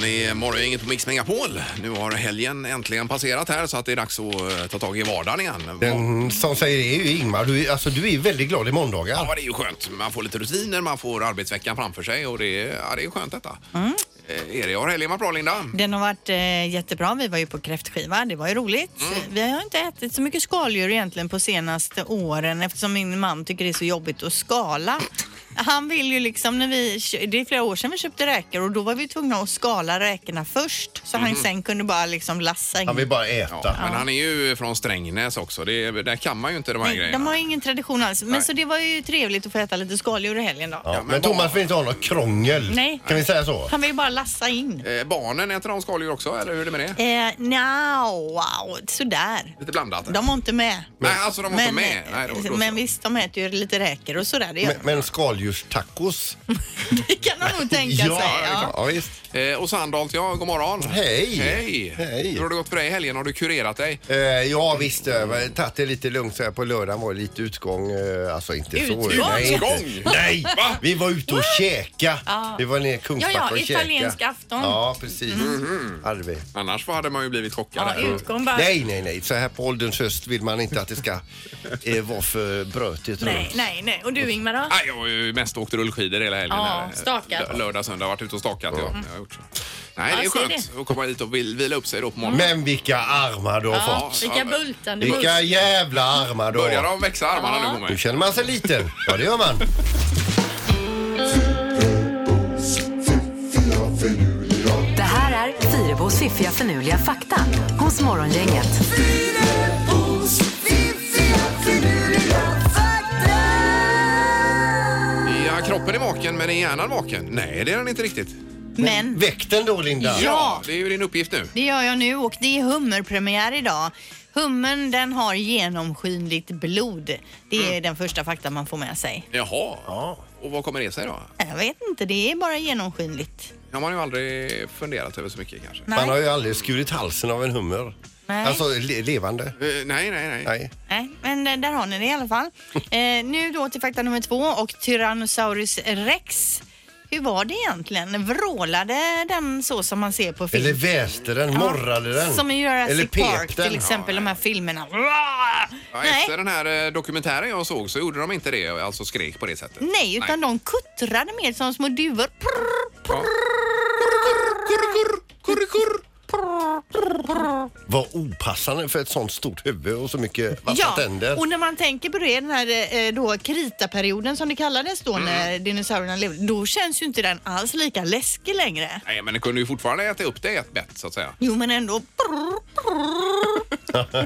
Det är morgongänget på Mix Megapol. Nu har helgen äntligen passerat här så att det är dags att eh, ta tag i vardagen igen. Den som säger det är ju Ingmar. Du, är- alltså, du är väldigt glad i Ja, måndagar. det är ju skönt. Man får lite rutiner, man får arbetsveckan framför sig och det, är- ja, det är skönt detta. Mm. Eh, Erik, har helgen varit bra Linda? Den har varit eh, jättebra. Vi var ju på kräftskiva. Det var ju roligt. Mm. Vi har inte ätit så mycket skaldjur egentligen på senaste åren eftersom min man tycker det är så jobbigt att skala. Han vill ju liksom när vi, kö- det är flera år sedan vi köpte räkor och då var vi tvungna att skala räkorna först så han sen kunde bara liksom lassa in. Han vill bara äta. Mm. Ja, Men han är ju från Strängnäs också. Det, där kan man ju inte de här Nej, grejerna. de har ingen tradition alls. Men Nej. så det var ju trevligt att få äta lite skaldjur i helgen då. Ja, Ja, men men, Thomas vill inte ha något krångel. Nej. Kan vi säga så? Han vill bara lassa in. Eh, barnen, äter de skaldjur också eller hur är det med det? Eh, no, wow, sådär. Lite blandat. De var inte med. Nej, alltså de var inte med. Nej, då- då men så. visst, de äter ju lite räkor och sådär. Det, gör Men, de. men skaldjurstacos? det kan de nog tänka sig. ja. Ja. ja visst. Eh, och Sandholt, ja, god morgon. Hej. Hej! Hej. Hur har det gått för dig i helgen? Har du kurerat dig? Eh, ja visst, jag har tagit det lite lugnt så här på lördagen var det lite utgång. eh, Alltså inte så. Utgång? Nej, inte. Utgång? Nej! Va? Vi var ute och käka. Ja. Vi var nere i Kungsbacka Ja, ja, och käka. italiensk afton. Ja, precis. Mhm. Arve. Annars hade man ju blivit chockad. Ja, här. utgång bara. Nej, nej, nej. Så här på ålderns höst vill man inte att det ska eh, vara för brötigt nej, runt. nej, nej. Och du Ingmar då? Nej, Ah, jag har ju mest åkt rullskidor hela helgen. Ja, här. stakat. L- Lördag, söndag. Varit ute och stakat. Ja. Jag har gjort så. Nej, Ja, det är se skönt att komma hit och vil- vila upp sig då på morgonen. Men vilka armar du har Ja, fått. vilka bultande Vilka bultar. jävla armar du Börjar har. de växa armarna Ja. nu på Nu mig? känner man sig liten. Ja, det gör man. Det här är Fyrabos fiffiga förnuliga fakta hos Morgongänget. Ja, kroppen är vaken, men är hjärnan vaken? Nej, det är den inte riktigt. Men Väck den då, Linda. Ja. Det är ju din uppgift nu. det gör jag nu och det är hummerpremiär idag. Hummern den har genomskinligt blod. Det är den första fakta man får med sig. Jaha. Och vad kommer det sig då? Jag vet inte, det är bara genomskinligt. Det har man ju aldrig funderat över så mycket kanske. Nej. Man har ju aldrig skurit halsen av en hummer. Nej. Alltså le levande. Eh, nej, nej, nej. Nej. Nej, men eh, där har ni det i alla fall. Eh, nu då till fakta nummer två och Tyrannosaurus rex. Hur var det egentligen? Vrålade den så som man ser på film? Eller väste den, morrade den. Som i Eller Jurassic pep Park den. till exempel, de här filmerna. Ja, efter Nej, den här eh, dokumentären jag såg så gjorde de inte det, alltså skrek på det sättet. nej, utan de kuttrade mer som små duvor. Prr, prr. Ja. Kurr, kurr, kurr, kurr, kurr. Vad opassande för ett sånt stort huvud och så mycket vassa Ja, tänder. och när man tänker på det, den här eh, då kritaperioden som det kallades Mm. då när dinosaurierna levde, då känns ju inte den alls lika läskig längre. Nej, men det kunde ju fortfarande äta upp det i ett bett så att säga. Jo, men ändå.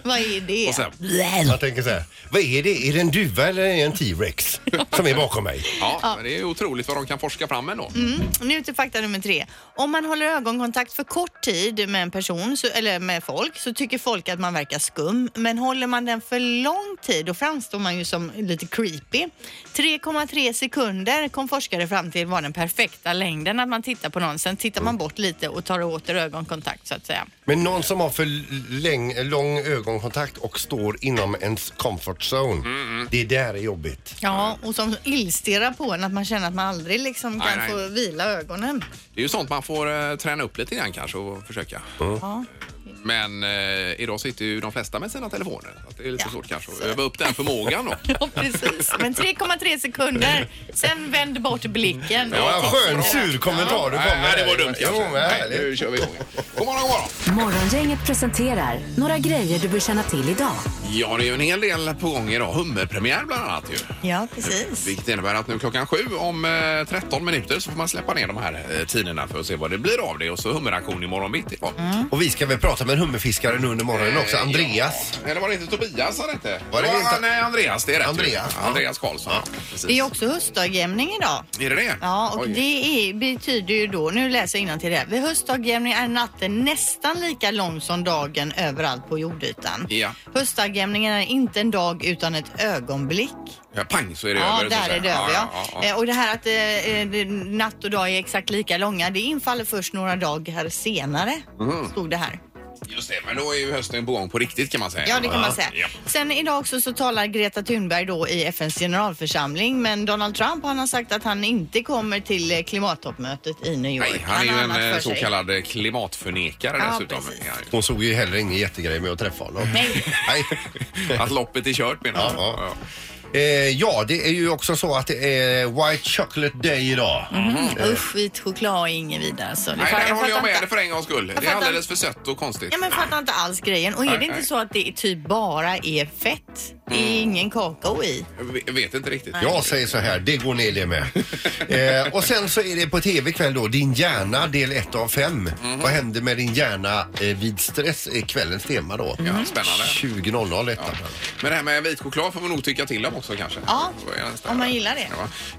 Vad är det? Och sen, Man tänker så här, vad är det? Är det en duva eller är det en T-rex som är bakom mig? ja, Men det är ju otroligt vad de kan forska fram ändå. Mm. Nu till fakta nummer tre. Om man håller ögonkontakt för kort tid med en person så, eller med folk så tycker folk att man verkar skum. Men håller man den för lång tid då framstår man ju som lite creepy. 3,3 sekunder kom forskare fram till var den perfekta längden att man tittar på någon. Sen tittar man bort lite och tar åter ögonkontakt så att säga. Men någon som har för läng, lång ögonkontakt och står inom ens comfort zone. Mm, Det där är jobbigt. Ja, och som illstirrar på en att man känner att man aldrig liksom kan Nej, nej. få vila ögonen. Det är ju sånt man får eh, träna upp lite grann kanske och försöka. Ja. Men eh, idag sitter ju de flesta med sina telefoner. Så att det är lite Ja, svårt kanske att så- öva upp den förmågan då. Ja, precis. Men 3,3 sekunder. Sen vänd bort blicken. Ja, skön sur kommentar du kom med. Nej, det var dumt alltså. Jo, kanske. men Nej, härligt. nu kör vi igång. God morgon, god morgon. Morgongänget presenterar några grejer du bör känna till idag. Ja, det är ju en hel del på gång idag. Hummerpremiär bland annat ju. Ja, precis. Vilket innebär att nu klockan sju om eh, 13 minuter så får man släppa ner de här eh, tiderna för att se vad det blir av det. Och så hummeraktion imorgon bitti. då. Och vi ska väl prata med en hummerfiskare nu under morgonen också, Eh, Andreas. ja. Eller var det inte Tobias han hette? Var det Ja, inte- Nej, Andreas. Det är rätt. Andreas, ju. ja. Andreas Karlsson. Ja. precis. Det är också höstdagjämning idag. Är det det? Ja, och Oj. det är, betyder ju då, nu läser jag innantill det. Vid höstdagjämning är natten nästan lika lång som dagen överallt på jordytan. Ja. Höstdagjämningen är inte en dag utan ett ögonblick. Ja, pang så är det Ja, över. så att där säga. är det över ja. ja, ja. Eh, Och det här att eh, eh, det- Mm. natt och dag är exakt lika långa, det infaller först några dagar senare, stod det här. Just det, men då är ju hösten på gång på riktigt kan man säga. Ja, det kan man säga. Ja. Sen idag också så talar Greta Thunberg då i FNs generalförsamling men Donald Trump han har sagt att han inte kommer till eh, klimattoppmötet i New York. Nej, han är har ju en annat eh, för så sig. kallad eh, klimatförnekare Ja, dessutom. precis. Ja, Hon såg ju heller ingen jättegrej med att träffa honom. Nej. ja. Att loppet är kört menar Ja, han. ja. Eh, ja, det är ju också så att det är White Chocolate Day idag. Mm, Usch, vit choklad är inget vidare. Så det Mm. Nej, fa- där håller fattar jag med inte- dig för en gångs skull. Det är fattar alldeles för sött och konstigt. Ja, men fattar inte alls grejen. Och är det Nej, Mm. inte nej. så att det är typ bara är fett? Det är ingen kakao i. Jag ve- vet inte riktigt. Jag säger så här, det går ner det med. eh, och sen så är det på tv ikväll då, Din hjärna del 1 av 5. Mhm. Vad händer med din hjärna eh, vid stress? är kvällens tema då. Ja, spännande. 20.00 detta. Men det här med vit choklad får man nog tycka till om också kanske. Ja, Så är nästa. om man gillar det.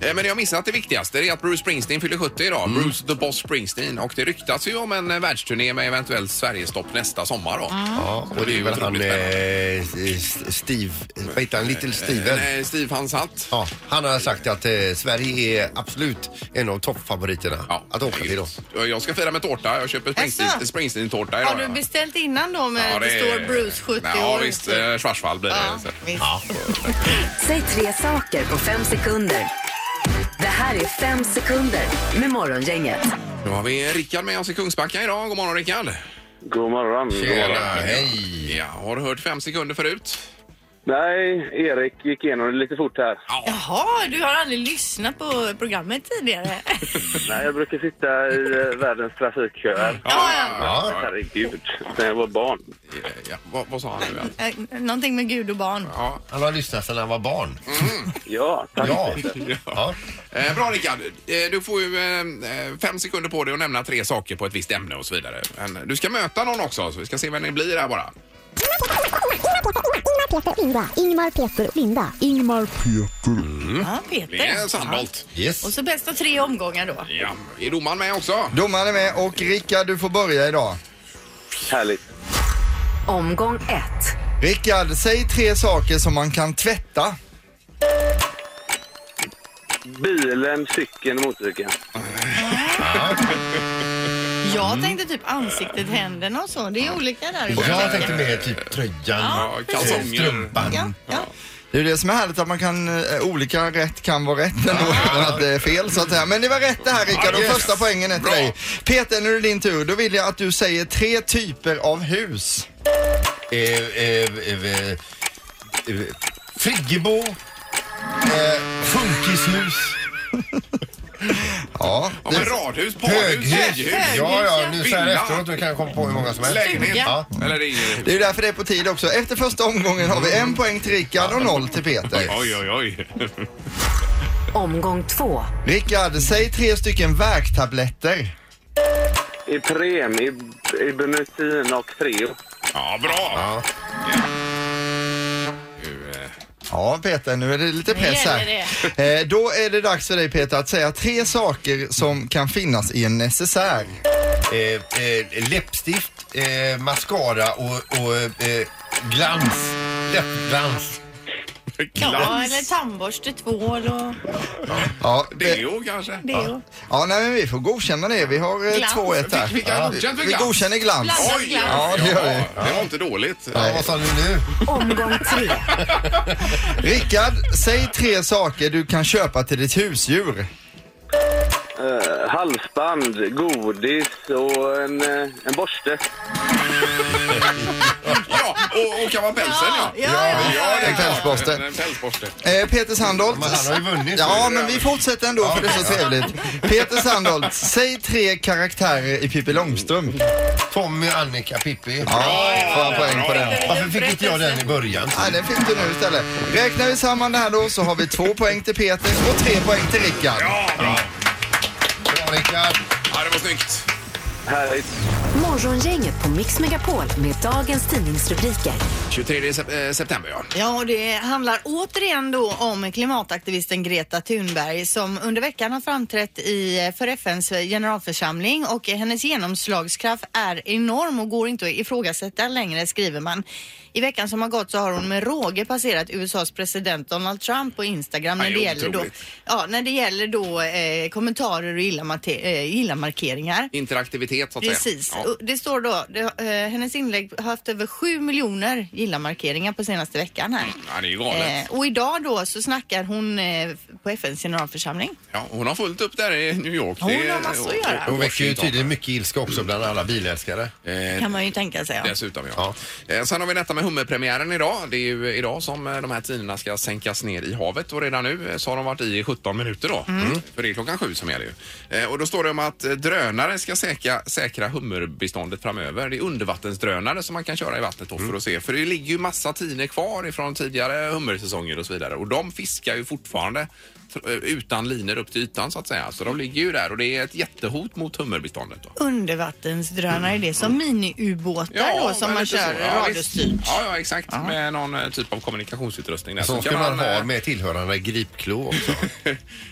Ja. Eh, Men jag missat det viktigaste. Det är att Bruce Springsteen fyller 70 idag. Mm. Bruce the Boss Springsteen. Och det ryktas ju om en eh, världsturné med eventuellt Sverigestopp nästa sommar då. Mm. Eh, Ja, och det är väl han otroligt spännande. Eh, eh, S- Steve, vad heter han, Little Steven? Nej, Steve Hans Hatt. Ja, han har sagt att eh, Sverige är absolut en av toppfavoriterna Ja, att åka till då. Jag- Jag ska fira med tårta. Jag köper Springsteen- Jaså? Springsteen-tårta Har idag. du ja. beställt innan då med att det står Bruce 70 Nej, år? Ja visst, eh, Schwarzwald blir det. Ja, visst. Säg tre saker på fem sekunder. Det här är fem sekunder med Morgongänget. Nu har vi Rickard med oss i Kungsbacka idag. God morgon Rickard! God morgon. God Tjena, morgon. hej! Ja, har du hört fem sekunder förut? Nej, Erik gick igenom det lite fort här. Jaha, du har aldrig lyssnat på programmet tidigare? Nej, jag brukar sitta i eh, världens trafikköer. Ja. Herregud, sen jag var barn. ja, Eh, ja. Vad, vad sa han nu? igen? Eh, Någonting med Gud och barn. Ja. Han har lyssnat sedan han var barn. Mm. Ja, tack. Ja. ja. Eh, bra Rickard, eh, du får ju eh, eh, fem sekunder på dig att nämna tre saker på ett visst ämne och så vidare. Men du ska möta någon också så vi ska se vem det blir här bara. Ingmar, Peter, Linda. Ingmar, Peter, Linda. Ingmar, Ja, Det är Peter. Sandholt. Yes. Och så bästa tre omgångar då. Ja. Är domaren med också? Domaren är med och Rickard du får börja idag. Härligt. Omgång ett. Rickard, säg tre saker som man kan tvätta. Bilen, cykeln och motorcykeln. Jag tänkte typ ansiktet, händerna och så. Det är olika där. Jag tänkte mer typ tröjan, Ja, kalsonger. strumpan. Ja, ja. Det är ju det som är härligt att man kan, eh, olika rätt kan vara rätt ändå utan att det är fel så att säga. Men det var rätt det här Rickard och Yes. första poängen är till Bra. dig. Peter, nu är det din tur. Då vill jag att du säger tre typer av hus. Eh, eh, eh, eh, eh, Friggebo. Eh, funkishus. Ja, Ja, det- men radhus, parhus, Höghus. höghus. Ja, ja, nu så här Villa. efteråt då kan jag komma på hur många som helst. Lägenhet. Ja. Eller det är ingen- det är ju därför det är på tid också. Efter första omgången har vi en poäng till Rickard och noll till Peter. Oj, oj, oj. Omgång två. Rickard, säg tre stycken värktabletter. Ipren, Ib- Ibuprofen och Treo. Ja, bra. Ja. Nu, eh, Ja, Peter, nu är det lite press gäller här. Eh, då är det dags för dig, Peter, att säga tre saker som kan finnas i en necessär. Eh, eh, läppstift, eh, mascara och, och eh, glans. Läppglans. ja, eller tandborste, tvål och Ja, eh, Deo kanske? det. och- ja nej, men vi får godkänna det. Vi har eh, Glans. 2-1 här. Fick vi godkänt för Vi glans? godkänner glans. Glans. Oj! Ja, det gör vi. Ja, det var inte dåligt. Ja, vad sa du nu? Omgång tre. Rickard, säg tre saker du kan köpa till ditt husdjur. Eh, halsband, godis och en, eh, en borste. Ja, och, och kammapälsen ja. Ja, ja, ja, ja. det är En klart. pälsborste. En, en pälsborste. Eh, Peter Sandholt. Men han har ju vunnit. Ja, men vi fortsätter ändå för det är så trevligt. Peter Sandholt, säg tre karaktärer i Pippi Långstrump. Tommy, Annika, Pippi. Ja, får han poäng på den. Varför fick inte jag den i början? Nej, den fick du nu istället. Räknar vi samman det här då så har vi två poäng till Peter och tre poäng till Rickard. Ja, bra. Bra, Rickard. Ja, det var snyggt. Härligt. Morgongänget på Mix Megapol med dagens tidningsrubriker. 23 sep- eh, september, ja. Ja, och det handlar återigen då om klimataktivisten Greta Thunberg som under veckan har framträtt i, eh, för FNs generalförsamling och hennes genomslagskraft är enorm och går inte att ifrågasätta längre, skriver man. I veckan som har gått så har hon med råge passerat USAs president Donald Trump på Instagram när Ja, det det är gäller då, otroligt. ja, när det gäller då eh, kommentarer och illamate- eh, illamarkeringar. Interaktivitet, så att Precis. säga. Och Det står då, det, eh, hennes inlägg har haft över 7 miljoner gilla-markeringar på senaste veckan här. Ja, det är ju galet. Eh, och idag då så snackar hon eh, på FNs generalförsamling. Ja, hon har fullt upp där i New York. Hon Det är- har massor att göra. och- och Hon väcker ju Washington. tydligen mycket ilska också bland alla bilälskare. Eh, Kan man ju tänka sig. Ja. Dessutom ja. Eh, Sen har vi detta med hummerpremiären idag. Det är ju idag som eh, de här tinorna ska sänkas ner i havet och redan nu eh, så har de varit i i 17 minuter då. Mm. För det är klockan sju som gäller ju. Eh, Och då står det om att eh, drönare ska säkra, säkra hummerbeståndet framöver. Det är undervattensdrönare som man kan köra i vattnet då för att se. För det ligger ju massa tinor kvar ifrån tidigare hummersäsonger och så vidare. Och de fiskar ju fortfarande tr- eh, utan linor upp till ytan så att säga. Så de ligger ju där och det är ett jättehot mot hummerbeståndet. Då. Undervattensdrönare, är det som mini-ubåtar då Mm. som men man lite kör så. Ja, radiostyrt? visst. Ja, ja, exakt. Med någon eh, typ av kommunikationsutrustning där. Som Så ska kan man eh, ha med tillhörande gripklo också.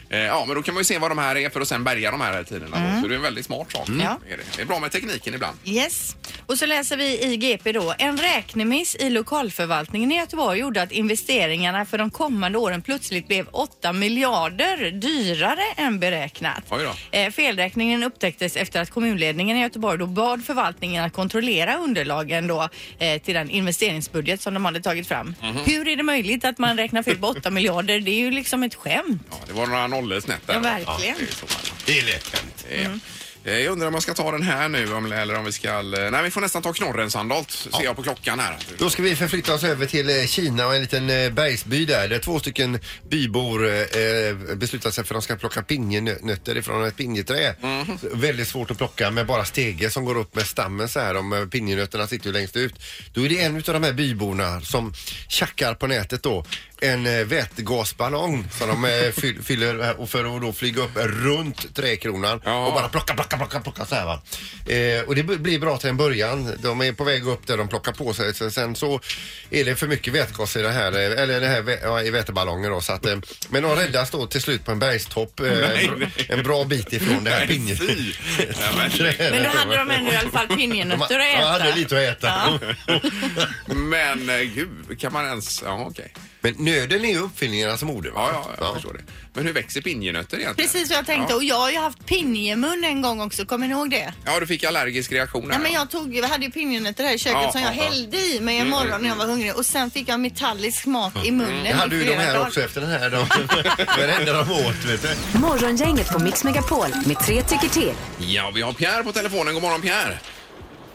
eh, Ja, men då kan man ju se vad de här är för att sen bärga de här hela tiden. Så det är en väldigt smart sak. Mm. Ja. Är det. det är bra med tekniken ibland. Yes. Och så läser vi i GP då. En räknemiss i lokalförvaltningen i Göteborg gjorde att investeringarna för de kommande åren plötsligt blev 8 miljarder dyrare än beräknat. Oj då. Eh, felräkningen upptäcktes efter att kommunledningen i Göteborg då bad förvaltningen att kontrollera underlagen då, eh, till den investeringsbudget som de hade tagit fram. Hur är det möjligt att man räknar fel på 8 miljarder? Det är ju liksom ett skämt. Ja, det var några nollor snett där. Ja, verkligen. Mm. det är så man- Det är lätt hänt. Eh, eh, Jag undrar om jag ska ta den här nu om, eller om vi ska... eh, Nej, vi får nästan ta knorren Sandholt, ser jag på klockan här. Då ska vi förflytta oss över till eh, Kina och en liten eh, bergsby där, där två stycken bybor eh, beslutar sig för att de ska plocka pinjenötter ifrån ett pinjeträ. Så Väldigt svårt att plocka med bara stege som går upp med stammen så här. De eh, pinjenötterna sitter ju längst ut. Då är det en av de här byborna som tjackar på nätet då en eh, vätgasballong som de eh, fyll- fyller eh, och för att då flyga upp runt träkronan Ja. och bara plocka, plocka, plocka, plocka så här va. Eh, och det b- blir bra till en början. De är på väg upp där de plockar på sig. Sen, sen så är det för mycket vätgas i det här, eh, eller det här vä- ja, i väteballongen då. Så att, eh, men de räddas då till slut på en bergstopp eh, en bra- en bra bit ifrån det här Nej, pinget. fy. Ja, men- Men då hade de ändå i alla fall pinjenötter att Ja, hade äta. lite att äta. Men eh, gud, kan man ens... Ja, okej. Men nöden är ju uppfinningarnas moder. va? Ja, ja, jag förstår det. Men hur växer pinjenötter egentligen? Precis vad jag tänkte. Och jag har ju haft pinjemun en gång också. Kommer ni ihåg det? Ja, du fick allergisk reaktion här. Nej, men jag tog, jag hade ju pinjenötter här i köket Ja, som ja, jag ja. hällde i mig Mm, en morgon när jag var hungrig och sen fick jag metallisk smak i munnen. Jag Mm. hade i ju de flera här dagar. också efter den här. De, varenda de åt vet du. Morgongänget på Mix Megapol med tre tycker till. Ja, vi har Pierre på telefonen. God morgon Pierre!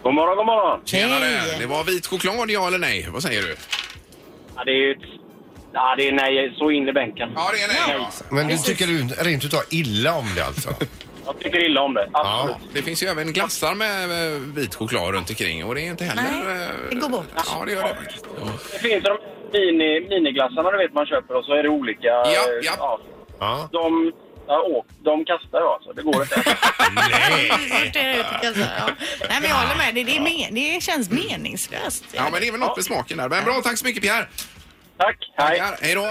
God morgon, god morgon. Tjenare! Det var vit choklad, ja eller nej? Vad säger du? Ja, det är ju ett... Ja, det är nej, så in i bänken. Ja, det är nej. Ja. Men du tycker du rent utav illa om det alltså? Jag tycker illa om det. Absolut. Ja. Det finns ju även glassar med eh, vit choklad runt omkring och det är inte heller... Nej, eh, det går bort. Ja, det gör det faktiskt. Ja. Det finns de mini, miniglassarna du vet man köper och så är det olika... Ja, eh, ja. Ja. de, ja, åk, de kastar jag alltså. Det går inte. Vart är det, tycker jag så här, ja. Nej, men jag håller med. Det, det, är men, det känns meningslöst. ja, men det är väl något med smaken där. Men bra, tack så mycket Pierre! Tack, hej. Pierre, hej då!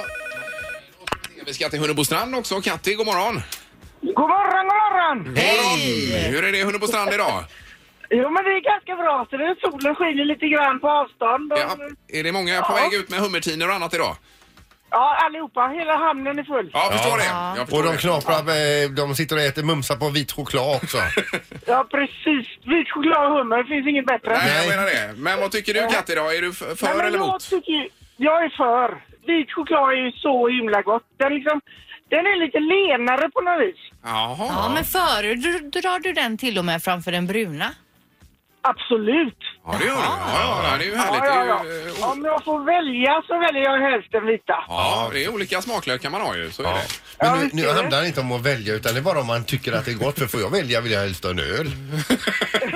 Vi ska till Hunnebostrand också. Katti, god morgon! God morgon, god morgon! Hej! Hur är det i Hunnebostrand idag? Jo, men det är ganska bra. Så det solen skiner lite grann på avstånd. Och, Ja, är det många på Ja. väg ut med hummertinor och annat idag? ja, allihopa. Hela hamnen är full. Ja, jag förstår det. Jag förstår Och de det. knaprar, eh, de sitter och äter mumsar på vit choklad också. Ja, precis. Vit choklad och hummer. Det finns inget bättre. Nej, jag menar det. Men vad tycker du Katti då? Är du f- för Nej, men eller jag emot? tycker ju- Jag är för. Vit choklad är ju så himla gott. Den, liksom, den är lite lenare på något vis. Jaha. Ja, men föredrar du den till och med framför den bruna? Absolut. Ja, det gör du. Ja, ja, det är ju härligt. Ja, ja, Det är ju, eh, ja. Om jag får välja så väljer jag helst den vita. Ja, det är olika smaklökar man har ju. Så är Ja. det. Men nu, nu handlar det inte om att välja utan det är bara om man tycker att det är gott. För får jag välja vill jag helst ha en öl.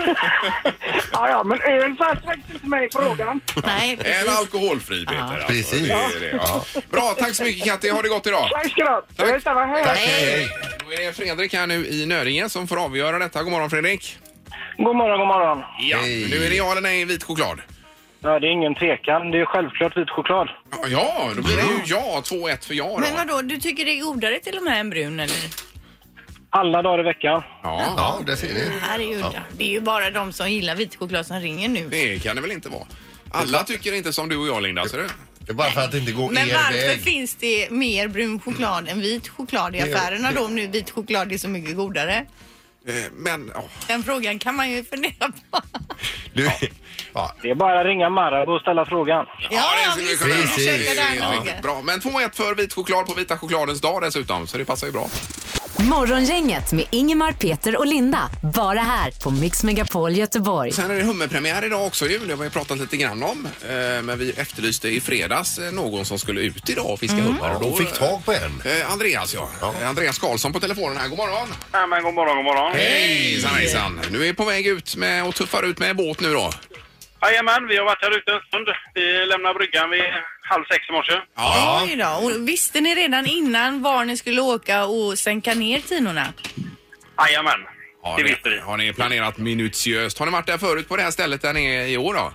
Ja, ja, men öl fanns faktiskt inte med i frågan. Nej, En precis. alkoholfri Peter. Alltså. Precis. Det är det, ja. Bra, tack så mycket Katti. Ha det gott idag. Tack ska du ha. Tack. Detsamma. Hej, hej. Hej. Då är det Fredrik här nu i Nöringe som får avgöra detta. God morgon Fredrik. God morgon, god morgon. Ja. Nu är det ja eller nej vit choklad. Ja, det är ingen tvekan. Det är självklart vit choklad. Ja, då blir det ju ja. 2-1 för ja Men då. vadå, du tycker det är godare till och med än brun eller? Alla dagar i veckan. Ja, Ja, det ser ni. Här är ju udda. Det är ju bara de som gillar vit choklad som ringer nu. det kan det väl inte vara. Alla tycker inte som du och jag, Linda. Så det... Det är bara för att det inte går Men er varför väg. finns det mer brun choklad än vit choklad i affärerna då om nu vit choklad är så mycket godare? Eh, Men, ja. Den frågan kan man ju fundera på. Du, ja, Det är bara att ringa Marabou och ställa frågan. Ja, det ja, skulle vi visst. kunna vi göra. försöker där Ja, noga. Bra, men 2-1 för vit choklad på vita chokladens dag dessutom, så det passar ju bra. Morgongänget med Ingemar, Peter och Linda. Bara här på Mix Megapol Göteborg. Sen är det hummerpremiär idag också ju. Det har vi pratat lite grann om. Eh, Men vi efterlyste i fredags eh, någon som skulle ut idag och fiska hummer. ja, och fick tag på en. Eh, Andreas ja. Eh, Andreas Karlsson på telefonen här. God morgon! Ja, men god morgon, god morgon. Hejsan hejsan! Nu är på väg ut med och tuffar ut med båt nu då. Jajamän, vi har varit här ute en stund. Vi lämnar bryggan vid halv sex i morse. Oj då. Och visste ni redan innan var ni skulle åka och sänka ner tinorna? Jajamän, det ni- visste vi. har ni planerat minutiöst? Har ni varit där förut på det här stället där ni är i år då?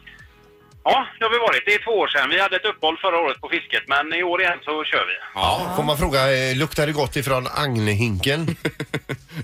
Ja, det har vi varit. Det är två år sedan. Vi hade ett uppehåll förra året på fisket, men i år igen så kör vi. Ja. Får man fråga, eh, luktar det gott ifrån agnehinken?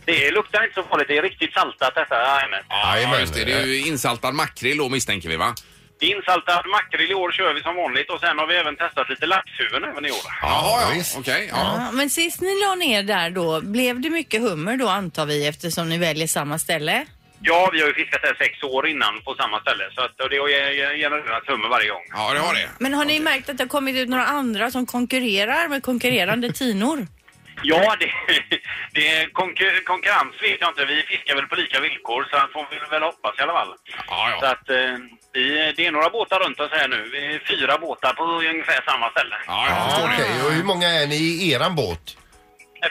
Det luktar inte så farligt. Det är riktigt saltat detta. Jajamän. Ja, just det. Det är ju insaltad makrill då misstänker vi va? Det är Insaltad makrill i år kör vi som vanligt och sen har vi även testat lite laxhuvuden även i år. Jaha, ja. visst. Okej. ja. Ja, men sist ni la ner där då, blev det mycket hummer då antar vi eftersom ni väljer samma ställe? Ja, vi har ju fiskat här sex år innan på samma ställe så att, och det har ge- ge- genererat hummer varje gång. Ja, det har det. Men har ni märkt att det har kommit ut några andra som konkurrerar med konkurrerande tinor? Ja, det, det är konkur, konkurrens vet jag inte. Vi fiskar väl på lika villkor så att får vi väl hoppas i alla fall. Ja, Så ja. att eh, vi, det är några båtar runt oss här nu. Vi är fyra båtar på ungefär samma ställe. Ja, jag förstår det. Okej, och hur många är ni i eran båt?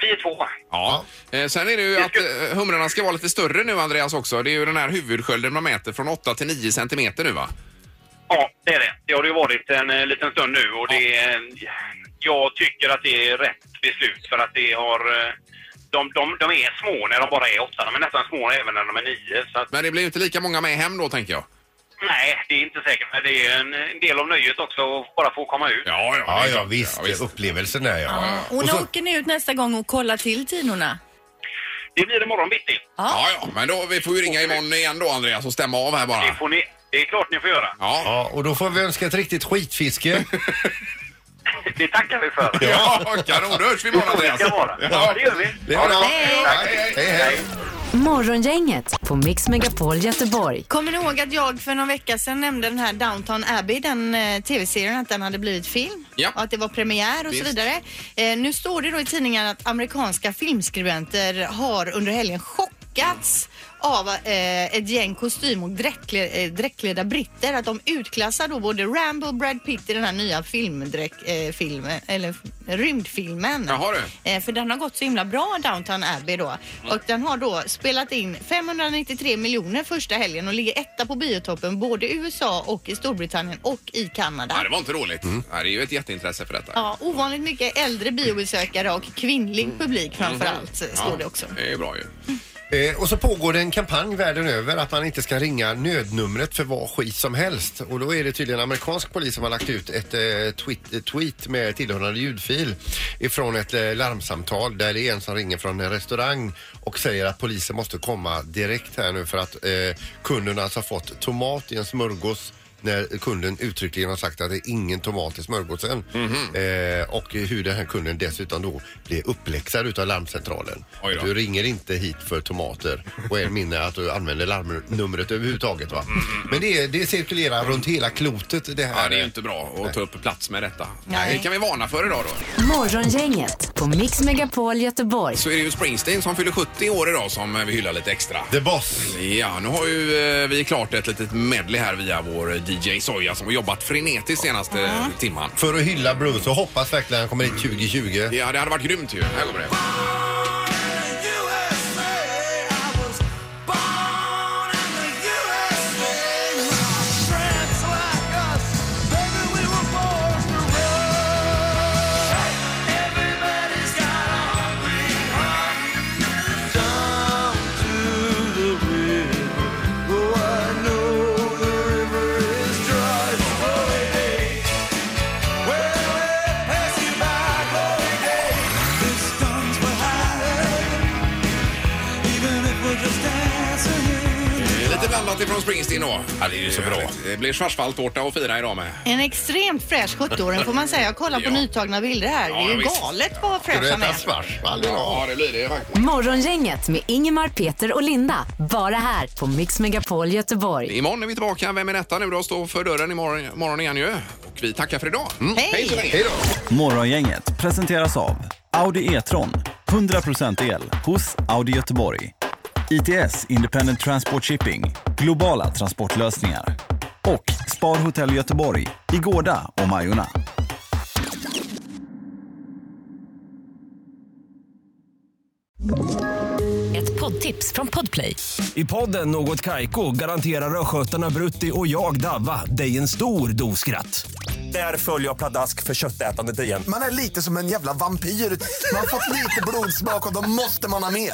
Vi är två. Ja. Eh, Sen är det ju Vi att eh, humrarna ska vara lite större nu Andreas också. Det är ju den här huvudskölden man mäter från 8 till 9 centimeter nu va? Ja, det är det. Det har det ju varit en eh, liten stund nu och det är, eh, jag tycker att det är rätt beslut för att det har... eh, De, de, de är små när de bara är åtta. De är nästan små även när de är nio. Så att, Men det blir ju inte lika många med hem då tänker jag. nej, det är inte säkert. Men det är en, en del av nöjet också att bara få komma ut. Ja, ja, det Ja, är ja klart. visst. Upplevelsen är ja. Och när åker ni ut nästa gång och kollar till tinorna? Det blir imorgon bitti. Ja, ja, men då, vi får ju ringa imorgon igen då Andreas och stämma av här Det, bara. får ni, det är klart ni får göra. Ja, Ja, och då får vi önska ett riktigt skitfiske. Det tackar vi för. ja kanon. Då hörs vi imorgon Det Andreas. ska vara. Ja, det gör vi. Det är bra. Hej. Hej, hej, hej. Morgongänget på Mix Megapol Göteborg. Kommer ni ihåg att jag för någon vecka sedan nämnde den här Downton Abbey, den eh, tv-serien, att den hade blivit film? Ja. Och att det var premiär och Visst. så vidare. Eh, nu står det då i tidningen att amerikanska filmskribenter har under helgen chockats av eh, ett gäng kostym och dräckle, eh, dräckklädda britter. Att de utklassar då både Rambo och Brad Pitt i den här nya filmdräck, eh, filmen, eller rymdfilmen. Jaha du. Eh, För den har gått så himla bra, Downton Abbey då. Mm. Och den har då spelat in 593 miljoner första helgen och ligger etta på biotoppen både i USA och i Storbritannien och i Kanada. Nej, det var inte roligt. Nej, det är ju ett jätteintresse för detta. Ja, ovanligt mycket äldre biobesökare och Mm. kvinnlig publik framför allt, eh, står det också. Det är ju bra ju. Eh, och så pågår det en kampanj världen över att man inte ska ringa nödnumret för vad skit som helst. Och då är det tydligen amerikansk polis som har lagt ut ett eh, tweet, eh, tweet med tillhörande ljudfil ifrån ett eh, larmsamtal där det är en som ringer från en restaurang och säger att polisen måste komma direkt här nu för att eh, kunden alltså har fått tomat i en smörgås när kunden uttryckligen har sagt att det är ingen tomat i smörgåsen. eh, och hur den här kunden dessutom då blir uppläxad utav larmcentralen. Oj då. Du ringer inte hit för tomater och än mindre att du använder larmnumret överhuvudtaget. Va? Men det, det cirkulerar runt hela klotet det här. Ja, det är ju inte bra att ta upp plats med detta. Nej. Det kan vi varna för idag då. Morgongänget på Mix Megapol Göteborg. så är det ju Springsteen som fyller 70 år idag som eh, vi hyllar lite extra. The Boss. Ja, nu har ju eh, vi klart ett litet medley här via vår eh, DJ Soja som har jobbat frenetiskt senaste eh, timman. För att hylla Bruce och hoppas verkligen han kommer hit 2020. Ja, det hade varit grymt ju. Här kommer det. Oh, I know the river is dry. från Springsteen då. Ja, det är ju så bra. Det blir schwarzwaldtårta att fira idag med. En extremt fräsch 70-åring får man säga. Kolla på Ja. nytagna bilder här. Ja, Det är ju visst. galet vad Ska du fräsch han äta är. svartsvall Ja, idag? det blir det faktiskt. Morgongänget med Ingemar, Peter och Linda. Bara här på Mix Megapol Göteborg. Imorgon är vi tillbaka. Vem är detta nu då? Står för dörren imorgon, imorgon igen ju. Och vi tackar för idag. Mm. Hej! Hej då! Morgongänget presenteras av Audi E-tron. 100% el hos Audi Göteborg. ITS Independent Transport Shipping. Globala transportlösningar. Och Spar Hotel Göteborg i Gårda och Majorna. Ett poddtips från Podplay. I podden Något Kaiko garanterar östgötarna Brutti och jag, Davva, dig en stor dos skratt. Där följer jag pladask för köttätandet igen. Man är lite som en jävla vampyr. Man har fått lite blodsmak och då måste man ha mer.